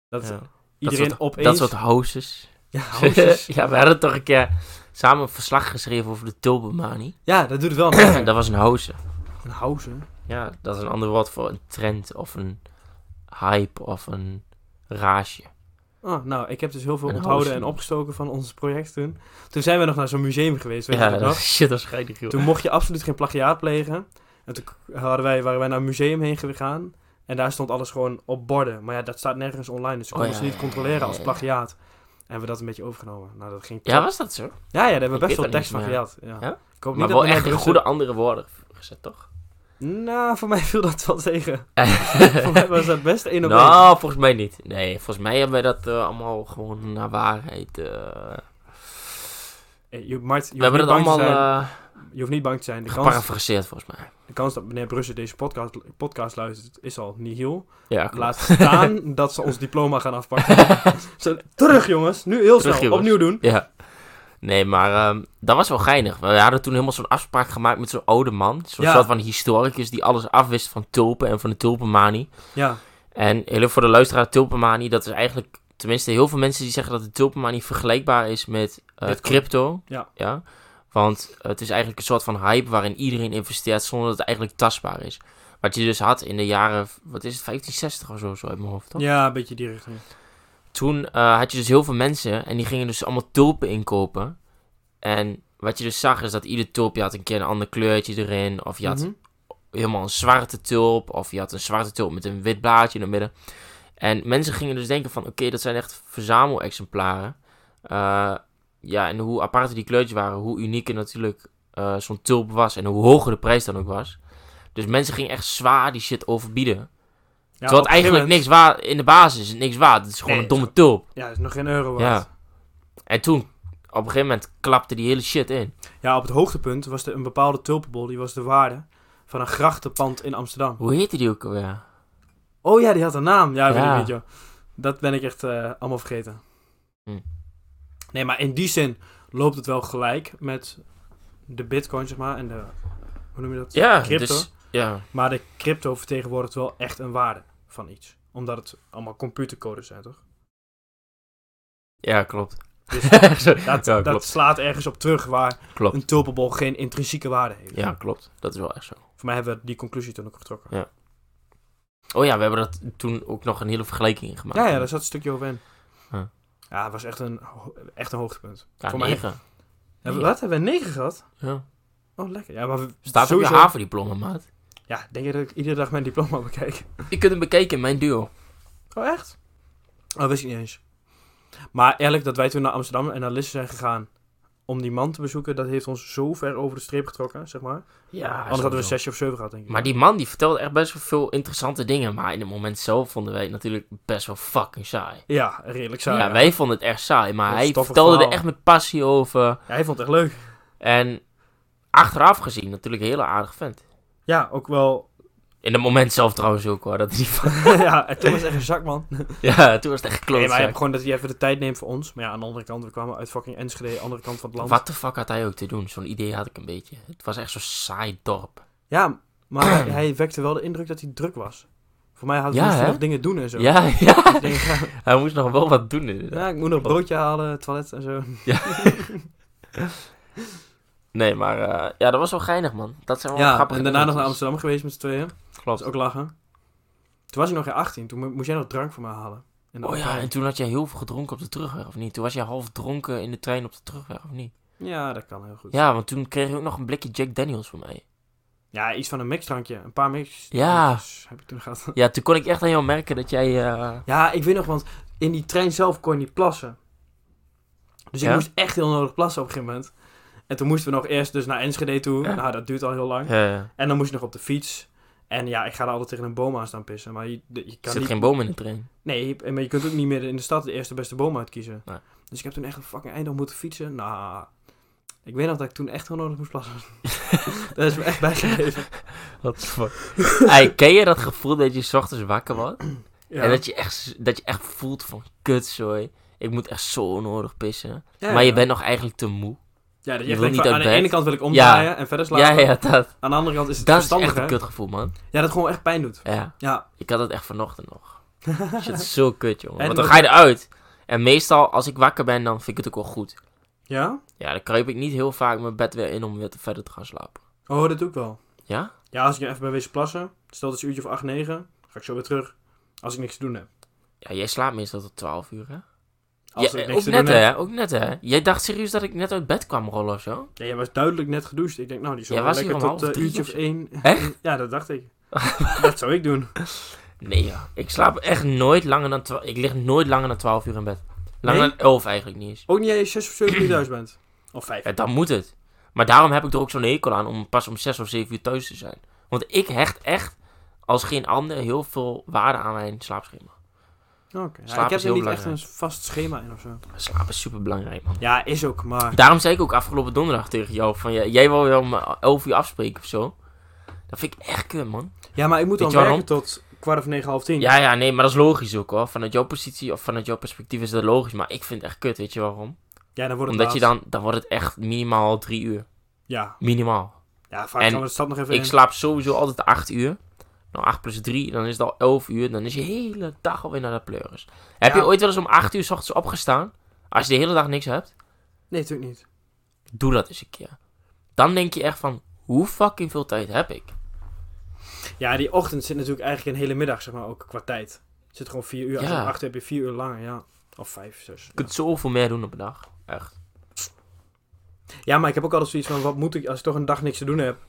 Speaker 1: Dat
Speaker 2: Ja.
Speaker 1: iedereen
Speaker 2: dat soort,
Speaker 1: opeens...
Speaker 2: Dat soort houses.
Speaker 1: Ja, houses.
Speaker 2: ja, we hadden toch een keer samen een verslag geschreven over de tulpenmanie.
Speaker 1: ja, dat doet het wel. een-
Speaker 2: dat was een house.
Speaker 1: Een house.
Speaker 2: Ja, dat is een ander woord voor een trend of een hype of een rage.
Speaker 1: Oh, nou, ik heb dus heel veel
Speaker 2: Een
Speaker 1: onthouden
Speaker 2: house.
Speaker 1: en opgestoken van ons project toen. Toen zijn we nog naar zo'n museum geweest, weet
Speaker 2: ja,
Speaker 1: je dat nog?
Speaker 2: shit, dat is geinig, joh.
Speaker 1: Toen mocht je absoluut geen plagiaat plegen. En toen k- hadden wij, waren wij naar een museum heen gegaan. En daar stond alles gewoon op borden. Maar ja, dat staat nergens online, dus ze
Speaker 2: Oh,
Speaker 1: konden
Speaker 2: ja,
Speaker 1: ze niet
Speaker 2: ja,
Speaker 1: controleren
Speaker 2: ja,
Speaker 1: als
Speaker 2: ja.
Speaker 1: plagiaat. En we dat een beetje overgenomen. Nou, dat ging
Speaker 2: Ja,
Speaker 1: top.
Speaker 2: was dat zo?
Speaker 1: ja, ja, daar hebben we
Speaker 2: Ik
Speaker 1: best
Speaker 2: weet
Speaker 1: wel
Speaker 2: dat
Speaker 1: tekst van
Speaker 2: niet,
Speaker 1: gejat. Ja.
Speaker 2: Ja?
Speaker 1: Ik hoop
Speaker 2: Maar
Speaker 1: niet dat
Speaker 2: wel
Speaker 1: we
Speaker 2: echt in
Speaker 1: naar
Speaker 2: goede andere woorden gezet, toch?
Speaker 1: Brussel- Nou, voor mij viel dat wel tegen. voor mij was dat best één op één.
Speaker 2: nou, volgens mij niet. Nee, volgens mij hebben wij dat eh, allemaal gewoon naar waarheid. eh,
Speaker 1: Hey, Eh, je, Mart, je
Speaker 2: we
Speaker 1: hoeft, niet
Speaker 2: hebben dat
Speaker 1: bang te
Speaker 2: allemaal
Speaker 1: zijn.
Speaker 2: eh
Speaker 1: je hoeft niet bang te zijn. De kans,
Speaker 2: geparafraseerd, volgens mij.
Speaker 1: de kans dat meneer Brussel deze podcast, podcast luistert is al nihil.
Speaker 2: Ja, klopt.
Speaker 1: Laat staan dat ze ons diploma gaan afpakken. Zo, terug jongens, nu heel snel,
Speaker 2: Terug, jongens.
Speaker 1: opnieuw doen.
Speaker 2: Ja. Nee, maar ehm, dat was wel geinig. We hadden toen helemaal zo'n afspraak gemaakt met zo'n oude man. Zo'n
Speaker 1: Ja.
Speaker 2: soort van historicus die alles afwist van tulpen en van de tulpenmanie.
Speaker 1: Ja,
Speaker 2: En heel even voor de luisteraar, tulpenmanie, dat is eigenlijk... Tenminste, heel veel mensen die zeggen dat de tulpenmanie vergelijkbaar is met eh,
Speaker 1: Bitcoin.
Speaker 2: crypto.
Speaker 1: Ja.
Speaker 2: ja. Want het is eigenlijk een soort van hype waarin iedereen investeert zonder dat het eigenlijk tastbaar is. Wat je dus had in de jaren, wat is het, 1560 of zo, zo uit mijn hoofd, toch?
Speaker 1: ja, een beetje die richting.
Speaker 2: toen eh, had je dus heel veel mensen en die gingen dus allemaal tulpen inkopen. En wat je dus zag is dat ieder tulp, je had een keer een ander kleurtje erin. Of je had
Speaker 1: Mhm.
Speaker 2: helemaal een zwarte tulp. Of je had een zwarte tulp met een wit blaadje in het midden. En mensen gingen dus denken van, oké, dat zijn echt verzamelexemplaren. eh, ja, en hoe aparte die kleurtjes waren, hoe unieker natuurlijk eh, zo'n tulp was en hoe hoger de prijs dan ook was. Dus mensen gingen echt zwaar die shit overbieden.
Speaker 1: Ja,
Speaker 2: Terwijl
Speaker 1: op
Speaker 2: het
Speaker 1: een gegeven
Speaker 2: eigenlijk niks waard, in de basis is het niks waard. Het is gewoon
Speaker 1: Nee,
Speaker 2: een domme tulp.
Speaker 1: moment- Ja, is nog geen euro waard.
Speaker 2: En toen, op een gegeven moment, klapte die hele shit in.
Speaker 1: Ja, op het hoogtepunt was er een bepaalde tulpenbol, die was de waarde van een grachtenpand in Amsterdam.
Speaker 2: Hoe heette die ook alweer?
Speaker 1: Oh ja, die had een naam. Ja, weet
Speaker 2: Ja.
Speaker 1: ik niet, joh. Dat ben ik echt eh, allemaal vergeten.
Speaker 2: Hm.
Speaker 1: Nee, maar in die zin loopt het wel gelijk met de bitcoin, zeg maar, en de... Hoe noem je dat?
Speaker 2: Ja,
Speaker 1: Crypto.
Speaker 2: dus... Ja,
Speaker 1: Maar de crypto vertegenwoordigt wel echt een waarde van iets. Omdat het allemaal computercodes zijn, toch?
Speaker 2: ja klopt.
Speaker 1: Dus
Speaker 2: Zo,
Speaker 1: dat,
Speaker 2: ja,
Speaker 1: dat
Speaker 2: klopt.
Speaker 1: slaat ergens op terug waar
Speaker 2: Klopt.
Speaker 1: een tulpenbol geen intrinsieke waarde heeft.
Speaker 2: Ja, klopt. Dat is wel echt zo.
Speaker 1: Voor mij hebben we die conclusie toen ook getrokken.
Speaker 2: Oh ja, we hebben dat toen ook nog een hele vergelijking in gemaakt.
Speaker 1: Ja, ja, daar zat een stukje over in.
Speaker 2: Ja.
Speaker 1: Ja, het was echt een, ho- echt een hoogtepunt.
Speaker 2: Ja,
Speaker 1: voor mij.
Speaker 2: negen.
Speaker 1: Hebben we-
Speaker 2: Ja.
Speaker 1: wat? Hebben we negen gehad?
Speaker 2: Ja.
Speaker 1: Oh, lekker. Ja, maar we,
Speaker 2: Staat op je havendiploma, maat.
Speaker 1: Ja, denk je dat ik iedere dag mijn diploma bekijk?
Speaker 2: Je kunt hem bekijken in mijn duo.
Speaker 1: Oh, echt? Oh, wist ik niet eens. Maar eerlijk, dat wij toen naar Amsterdam en naar Lisse zijn gegaan om die man te bezoeken, dat heeft ons zo ver over de streep getrokken, zeg maar.
Speaker 2: Ja,
Speaker 1: Anders hadden we een zesje of zeven gehad, denk ik.
Speaker 2: Maar die man die vertelde echt best wel veel interessante dingen. Maar in het moment zelf vonden wij het natuurlijk best wel fucking saai.
Speaker 1: Ja, redelijk saai.
Speaker 2: ja,
Speaker 1: Ja,
Speaker 2: wij vonden het echt saai. Maar
Speaker 1: Dat
Speaker 2: hij
Speaker 1: stoffig
Speaker 2: vertelde er
Speaker 1: verhaal.
Speaker 2: echt met passie over.
Speaker 1: hij vond het echt leuk.
Speaker 2: En achteraf gezien natuurlijk een hele aardig vent.
Speaker 1: Ja, ook wel...
Speaker 2: In het moment zelf trouwens ook hoor. Dat is niet van...
Speaker 1: ja, en toen was het echt een zak, man.
Speaker 2: Ja, toen was het
Speaker 1: Nee, maar
Speaker 2: echt
Speaker 1: hij
Speaker 2: klootzak.
Speaker 1: heeft gewoon dat hij even de tijd neemt voor ons. Maar ja, aan de andere kant, we kwamen uit fucking Enschede, andere kant van het land.
Speaker 2: Wat de fuck had hij ook te doen? Zo'n idee had ik een beetje. Het was echt zo'n saai dorp.
Speaker 1: Ja, maar hij, hij wekte wel de indruk dat hij druk was. Voor mij had
Speaker 2: Ja,
Speaker 1: hij moest hij
Speaker 2: hè?
Speaker 1: nog dingen doen en zo.
Speaker 2: Ja, ja.
Speaker 1: Ik denk, ja,
Speaker 2: Hij moest nog wel wat doen inderdaad.
Speaker 1: ja, ik moet nog broodje halen, toilet en zo.
Speaker 2: Oh, Nee, maar eh, ja, dat was wel geinig, man. Dat zijn wel
Speaker 1: Ja,
Speaker 2: grappige
Speaker 1: en daarna nog naar
Speaker 2: dingetjes.
Speaker 1: Amsterdam geweest met z'n tweeën. Dat is
Speaker 2: Klopt.
Speaker 1: ook lachen. Toen was ik nog geen 18, toen mo- moest jij nog drank voor me halen. In de
Speaker 2: Oh ja,
Speaker 1: trein.
Speaker 2: en toen had jij heel veel gedronken op de terugweg, of niet? Toen was jij half dronken in de trein op de terugweg, of niet?
Speaker 1: Ja, dat kan heel goed. Ja,
Speaker 2: Ja, want toen kreeg je ook nog een blikje Jack Daniels van mij.
Speaker 1: iets van een mixdrankje. Een paar mix.
Speaker 2: Ja.
Speaker 1: drankjes Heb ik toen gehad.
Speaker 2: Ja, toen kon ik echt aan jou merken dat jij... eh,
Speaker 1: Ja, ik weet nog, want in die trein zelf kon je niet plassen. Dus ik
Speaker 2: Ja?
Speaker 1: moest echt heel nodig plassen op een gegeven moment. En toen moesten we nog eerst dus naar Enschede toe.
Speaker 2: Ja.
Speaker 1: Nou, dat duurt al heel lang.
Speaker 2: eh, er
Speaker 1: En dan moest je nog op de fiets. En ja, ik ga er altijd tegen een boom aan staan pissen. Maar je, de- je kan
Speaker 2: zit
Speaker 1: niet...
Speaker 2: geen boom in de trein.
Speaker 1: Nee, maar je kunt ook niet meer in de stad de eerste beste boom uitkiezen.
Speaker 2: Nee.
Speaker 1: Dus ik heb toen echt een fucking eind op moeten fietsen. Nou, ik weet nog dat ik toen echt heel nodig moest plassen. dat is me echt bijgebleven.
Speaker 2: Wat fuck? Ey, ken je dat gevoel dat je 's ochtends wakker wordt?
Speaker 1: Ja.
Speaker 2: En dat je, echt, dat je echt voelt van, kutzooi, ik moet echt zo onnodig pissen.
Speaker 1: Ja,
Speaker 2: maar je
Speaker 1: ja.
Speaker 2: bent nog eigenlijk te moe.
Speaker 1: Ja, dat je
Speaker 2: je
Speaker 1: echt
Speaker 2: wil
Speaker 1: denkt
Speaker 2: niet
Speaker 1: van,
Speaker 2: uit
Speaker 1: aan de
Speaker 2: bed.
Speaker 1: ene kant wil ik omdraaien en verder
Speaker 2: Ja,
Speaker 1: slapen.
Speaker 2: ja, dat,
Speaker 1: Aan de andere kant is het
Speaker 2: dat is
Speaker 1: verstandig,
Speaker 2: echt een
Speaker 1: hè?
Speaker 2: kutgevoel, man.
Speaker 1: Ja, dat gewoon echt pijn doet.
Speaker 2: Ja.
Speaker 1: Ja,
Speaker 2: Ik had het echt vanochtend nog. Shit, zo kut, jongen.
Speaker 1: En
Speaker 2: Want dan
Speaker 1: dat-
Speaker 2: ga je eruit. En meestal, als ik wakker ben, dan vind ik het ook wel goed.
Speaker 1: ja?
Speaker 2: Ja, dan kruip ik niet heel vaak mijn bed weer in om weer te verder te gaan slapen.
Speaker 1: Oh, dat doe ik wel.
Speaker 2: Ja?
Speaker 1: Ja, als ik even ben wezen plassen, stel dat het een uurtje of 8, 9, ga ik zo weer terug. Als ik niks te doen heb.
Speaker 2: Ja, jij slaapt meestal tot 12 uur, hè?
Speaker 1: Als
Speaker 2: Ja,
Speaker 1: ik
Speaker 2: eh,
Speaker 1: niks
Speaker 2: ook
Speaker 1: te
Speaker 2: net,
Speaker 1: doen heb.
Speaker 2: hè? Ook net, hè? Jij dacht serieus dat ik net uit bed kwam rollen of zo?
Speaker 1: Ja, jij was duidelijk net gedoucht. Ik denk, nou, die zal
Speaker 2: Jij
Speaker 1: wel
Speaker 2: was hier
Speaker 1: lekker
Speaker 2: om
Speaker 1: tot
Speaker 2: half
Speaker 1: eh,
Speaker 2: drie
Speaker 1: uurtje
Speaker 2: of
Speaker 1: of één.
Speaker 2: Echt?
Speaker 1: Ja, dat dacht ik. dat zou ik doen.
Speaker 2: Nee, ja. Ik slaap echt nooit langer dan 12 Ik lig nooit langer dan 12 uur in bed. Langer
Speaker 1: Nee?
Speaker 2: dan 11 eigenlijk niet eens.
Speaker 1: Ook niet als je 6 of 7 uur thuis bent. Of 5.
Speaker 2: Ja, dan moet het. Maar daarom heb ik er ook zo'n hekel aan om pas om 6 of 7 uur thuis te zijn. Want ik hecht echt als geen ander heel veel waarde aan mijn slaapschema.
Speaker 1: ik
Speaker 2: Slaap
Speaker 1: heb
Speaker 2: is
Speaker 1: er
Speaker 2: heel
Speaker 1: niet echt een
Speaker 2: belangrijk.
Speaker 1: vast schema in of zo.
Speaker 2: Slaap is super belangrijk, man.
Speaker 1: Ja, is ook, maar...
Speaker 2: Daarom zei ik ook afgelopen donderdag tegen jou: van ja, jij wil wel om 11 uur afspreken of zo. Dat vind ik echt kut, man.
Speaker 1: Ja, maar ik moet
Speaker 2: Weet
Speaker 1: dan
Speaker 2: je waarom?
Speaker 1: werken tot kwart of negen, half tien.
Speaker 2: Ja, ja, nee, maar dat is logisch ook hoor. Vanuit jouw positie of vanuit jouw perspectief is dat logisch. Maar ik vind het echt kut, weet je waarom?
Speaker 1: Ja, dan wordt het
Speaker 2: Omdat je
Speaker 1: laat.
Speaker 2: dan, dan wordt het echt minimaal 3 uur.
Speaker 1: Ja,
Speaker 2: Minimaal.
Speaker 1: ja vaak
Speaker 2: En
Speaker 1: kan we de stad nog even
Speaker 2: Ik
Speaker 1: in.
Speaker 2: slaap sowieso altijd 8 uur. Nou, 8 plus 3, dan is het al 11 uur. Dan is je hele dag alweer naar de pleuris. Heb
Speaker 1: Ja.
Speaker 2: je ooit wel eens om 8 uur 's ochtends opgestaan? Als je de hele dag niks hebt?
Speaker 1: Nee, natuurlijk niet.
Speaker 2: doe dat eens een keer. Dan denk je echt van, hoe fucking veel tijd heb ik?
Speaker 1: Ja, die ochtend zit natuurlijk eigenlijk een hele middag, zeg maar, ook qua tijd. Het zit gewoon vier uur. Als je
Speaker 2: Ja.
Speaker 1: om acht uur heb je vier uur langer, ja. Of vijf, zes.
Speaker 2: Je kunt zoveel meer doen op een dag. Echt.
Speaker 1: Ja, maar ik heb ook altijd zoiets van, wat moet ik als ik toch een dag niks te doen heb?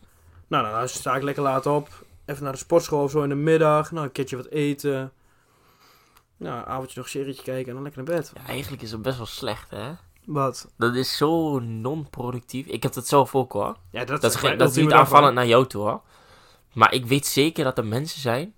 Speaker 1: Nou, nou, dan sta ik lekker laat op. Even naar de sportschool of zo in de middag. Nou, een keertje wat eten. Nou, een avondje nog een serietje kijken en dan lekker naar bed.
Speaker 2: Ja, eigenlijk is het best wel slecht, hè?
Speaker 1: Wat?
Speaker 2: Dat is zo non-productief. Ik heb dat zelf ook hoor.
Speaker 1: Ja, dat,
Speaker 2: Dat is, geen-
Speaker 1: maar
Speaker 2: dat is
Speaker 1: ultieme
Speaker 2: niet
Speaker 1: daarvan.
Speaker 2: aanvallend naar jou toe hoor. Maar ik weet zeker dat er mensen zijn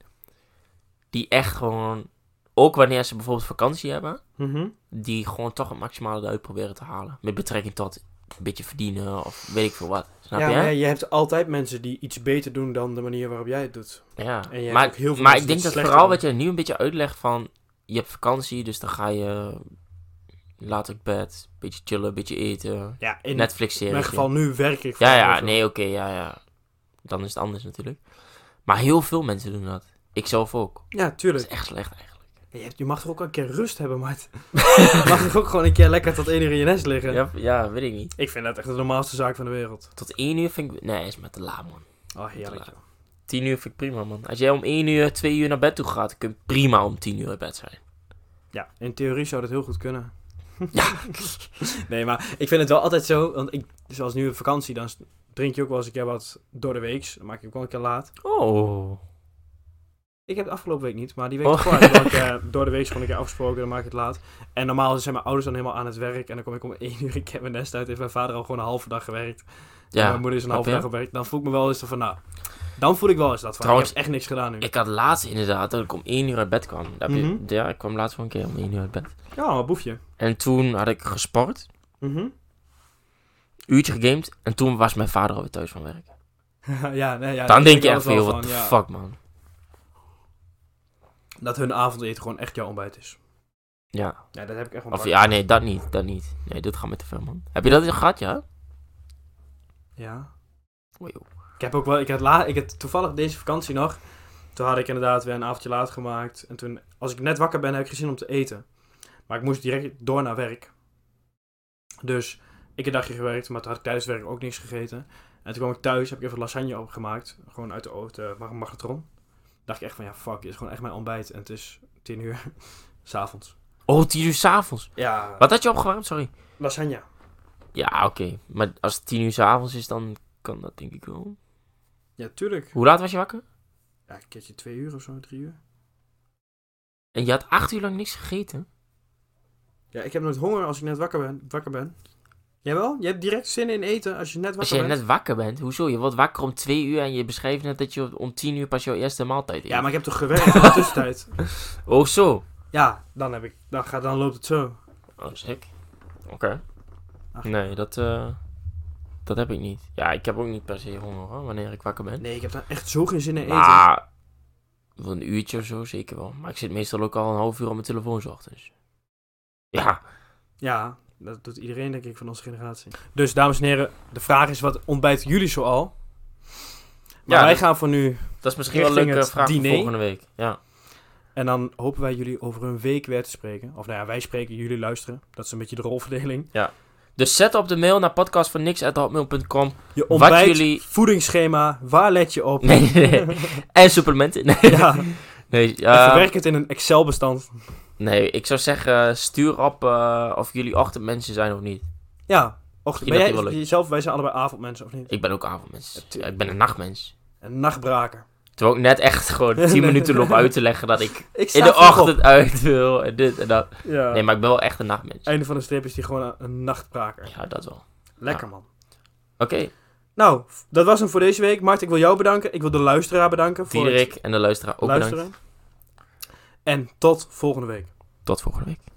Speaker 2: die echt gewoon, ook wanneer ze bijvoorbeeld vakantie hebben,
Speaker 1: Mhm.
Speaker 2: die gewoon toch het maximale eruit proberen te halen. Met betrekking tot een beetje verdienen of weet ik veel wat. Snap
Speaker 1: Ja,
Speaker 2: je?
Speaker 1: maar ja, je hebt altijd mensen die iets beter doen dan de manier waarop jij het doet.
Speaker 2: Ja,
Speaker 1: En je hebt
Speaker 2: maar,
Speaker 1: ook heel veel
Speaker 2: maar
Speaker 1: mensen
Speaker 2: ik denk
Speaker 1: die
Speaker 2: dat
Speaker 1: het slechter
Speaker 2: vooral
Speaker 1: doen.
Speaker 2: wat jij nu een beetje uitlegt van... Je hebt vakantie, dus dan ga je laat op bed, beetje chillen, beetje eten,
Speaker 1: Ja, in
Speaker 2: Netflix-serie.
Speaker 1: mijn geval nu werk ik.
Speaker 2: Ja,
Speaker 1: vaak
Speaker 2: ja,
Speaker 1: heel veel.
Speaker 2: nee, oké, ja, ja. Dan is het anders natuurlijk. Maar heel veel mensen doen dat. Ik zelf ook.
Speaker 1: Ja,
Speaker 2: Dat is
Speaker 1: tuurlijk.
Speaker 2: echt slecht eigenlijk.
Speaker 1: Je, hebt- je mag toch ook een keer rust hebben, maat? je mag toch ook gewoon een keer lekker tot één uur in je nest liggen?
Speaker 2: Ja, ja, weet ik niet.
Speaker 1: Ik vind dat echt de normaalste zaak van de wereld.
Speaker 2: Tot 1 uur vind ik... Nee, is maar te laat, man.
Speaker 1: Oh, heerlijk.
Speaker 2: Ja.
Speaker 1: joh.
Speaker 2: 10 uur vind ik prima, man. Als jij om 1 uur, 2 uur naar bed toe gaat, dan kun je prima om 10 uur in bed zijn.
Speaker 1: Ja, in theorie zou dat heel goed kunnen. nee, maar ik vind het wel altijd zo, want ik, zoals nu op vakantie, dan drink je ook wel eens een keer wat door de week. Dan maak ik ook wel een keer laat.
Speaker 2: Oh.
Speaker 1: Ik heb het afgelopen week niet, maar die week
Speaker 2: Oh.
Speaker 1: ervoor heb ik wel een keer door de week gewoon een keer afgesproken. Dan maak ik het laat. En normaal zijn mijn ouders dan helemaal aan het werk. En dan kom ik om één uur, ik heb mijn nest uit. Heeft mijn vader al gewoon een halve dag gewerkt. Ja.
Speaker 2: Ja.
Speaker 1: mijn moeder is een
Speaker 2: snap
Speaker 1: halve
Speaker 2: je?
Speaker 1: dag op werk. Dan voel ik me wel eens van, nou, dan voel ik wel eens dat van,
Speaker 2: Trouwens,
Speaker 1: ik heb echt niks gedaan nu.
Speaker 2: Ik had laatst inderdaad dat ik om 1 uur uit bed kwam. Daar heb je-
Speaker 1: Mhm.
Speaker 2: Ja, ik kwam laatst wel een keer om 1 uur uit bed.
Speaker 1: Ja, maar boefje.
Speaker 2: En toen had ik gesport,
Speaker 1: Mhm.
Speaker 2: uurtje gegamed. En toen was mijn vader alweer thuis van werk.
Speaker 1: ja, nee, ja,
Speaker 2: Dan
Speaker 1: daar
Speaker 2: denk je
Speaker 1: ik
Speaker 2: echt
Speaker 1: altijd
Speaker 2: veel,
Speaker 1: wel
Speaker 2: wat de
Speaker 1: van, ja,
Speaker 2: fuck man.
Speaker 1: Dat hun avondeten gewoon echt jouw ontbijt is.
Speaker 2: Ja.
Speaker 1: Ja, dat heb ik echt wel
Speaker 2: Of
Speaker 1: een
Speaker 2: ja, nee, dat niet, dat niet. Nee, dit gaat met te veel man. Heb je dat eens gehad, ja?
Speaker 1: paar- Ja.
Speaker 2: Oei, joh.
Speaker 1: Ik heb ook wel, ik had, la, ik had toevallig deze vakantie nog. Toen had ik inderdaad weer een avondje laat gemaakt. En toen, als ik net wakker ben, heb ik geen zin om te eten. Maar ik moest direct door naar werk. Dus ik heb een dagje gewerkt, maar toen had ik tijdens werk ook niks gegeten. En toen kwam ik thuis, heb ik even lasagne opgemaakt. Gewoon uit de oven, mag magnetron. Dacht ik echt van, ja fuck, dit is gewoon echt mijn ontbijt. En het is tien uur, s'avonds.
Speaker 2: Oh, tien uur s'avonds.
Speaker 1: Ja,
Speaker 2: Wat had je opgewarmd, sorry?
Speaker 1: lasagne.
Speaker 2: Ja, oké. Maar als het tien uur s'avonds is, dan kan dat denk ik wel.
Speaker 1: Ja, tuurlijk.
Speaker 2: Hoe laat was je wakker?
Speaker 1: Ja, een keertje twee uur of zo, drie uur.
Speaker 2: En je had acht uur lang niks gegeten?
Speaker 1: Ja, ik heb nooit honger als ik net wakker ben. Wakker ben. Jawel, je hebt direct zin in eten als je net
Speaker 2: Als
Speaker 1: wakker
Speaker 2: je
Speaker 1: bent.
Speaker 2: net wakker bent, hoezo? Je wordt wakker om twee uur en je beschreef net dat je om tien uur pas jouw eerste maaltijd eet.
Speaker 1: Ja, maar ik heb toch gewerkt in de tussentijd.
Speaker 2: Oh, zo.
Speaker 1: Ja, dan, heb ik, dan, gaat, dan loopt het zo.
Speaker 2: Oh, sick. Oké.
Speaker 1: Ach.
Speaker 2: Nee, dat, eh, dat heb ik niet. Ja, ik heb ook niet per se honger hoor, wanneer ik wakker ben.
Speaker 1: Nee, ik heb daar echt zo geen zin in eten.
Speaker 2: Maar wel een uurtje of zo zeker wel. Maar ik zit meestal ook al een half uur op mijn telefoon 's ochtends. Ja,
Speaker 1: Ja, dat doet iedereen denk ik van onze generatie. Dus dames en heren, de vraag is wat ontbijten jullie zoal? Maar
Speaker 2: Ja,
Speaker 1: wij
Speaker 2: dat-
Speaker 1: gaan voor nu.
Speaker 2: dat is misschien wel een
Speaker 1: Richting
Speaker 2: leuke
Speaker 1: het
Speaker 2: vraag voor
Speaker 1: diner.
Speaker 2: volgende week. Ja.
Speaker 1: En dan hopen wij jullie over een week weer te spreken. Of nou ja, wij spreken, jullie luisteren. Dat is een beetje de rolverdeling.
Speaker 2: Dus zet op de mail naar podcast van niks@hotmail.com.
Speaker 1: Je ontbijt,
Speaker 2: jullie-
Speaker 1: voedingsschema, waar let je op?
Speaker 2: Nee, nee, nee. En supplementen. Nee,
Speaker 1: ja,
Speaker 2: nee,
Speaker 1: en
Speaker 2: eh,
Speaker 1: verwerk het in een Excel-bestand.
Speaker 2: nee ik zou zeggen, stuur op eh, of jullie ochtendmensen zijn of niet.
Speaker 1: Ja, ochtend.
Speaker 2: Misschien
Speaker 1: Ben
Speaker 2: dat die wel
Speaker 1: jij
Speaker 2: leuk.
Speaker 1: jezelf, wij zijn allebei avondmensen, of niet?
Speaker 2: Ik ben ook avondmens.
Speaker 1: Ja,
Speaker 2: Ja, ik ben een nachtmens.
Speaker 1: Een nachtbraker.
Speaker 2: Terwijl ik net echt gewoon 10 minuten loop uit te leggen dat ik
Speaker 1: Ik
Speaker 2: in de ochtend uit wil en dit en dat.
Speaker 1: Ja.
Speaker 2: Nee, maar ik ben wel echt een nachtmens.
Speaker 1: Einde van de strip is die gewoon een- een nachtbraker.
Speaker 2: Ja, dat wel.
Speaker 1: Lekker man.
Speaker 2: Oké,
Speaker 1: Nou, f- dat was hem voor deze week. Mart, ik wil jou bedanken. Ik wil de luisteraar bedanken voor
Speaker 2: Diederik en de luisteraar
Speaker 1: het
Speaker 2: ook
Speaker 1: luisteren.
Speaker 2: bedankt.
Speaker 1: En tot volgende week.
Speaker 2: Tot volgende week.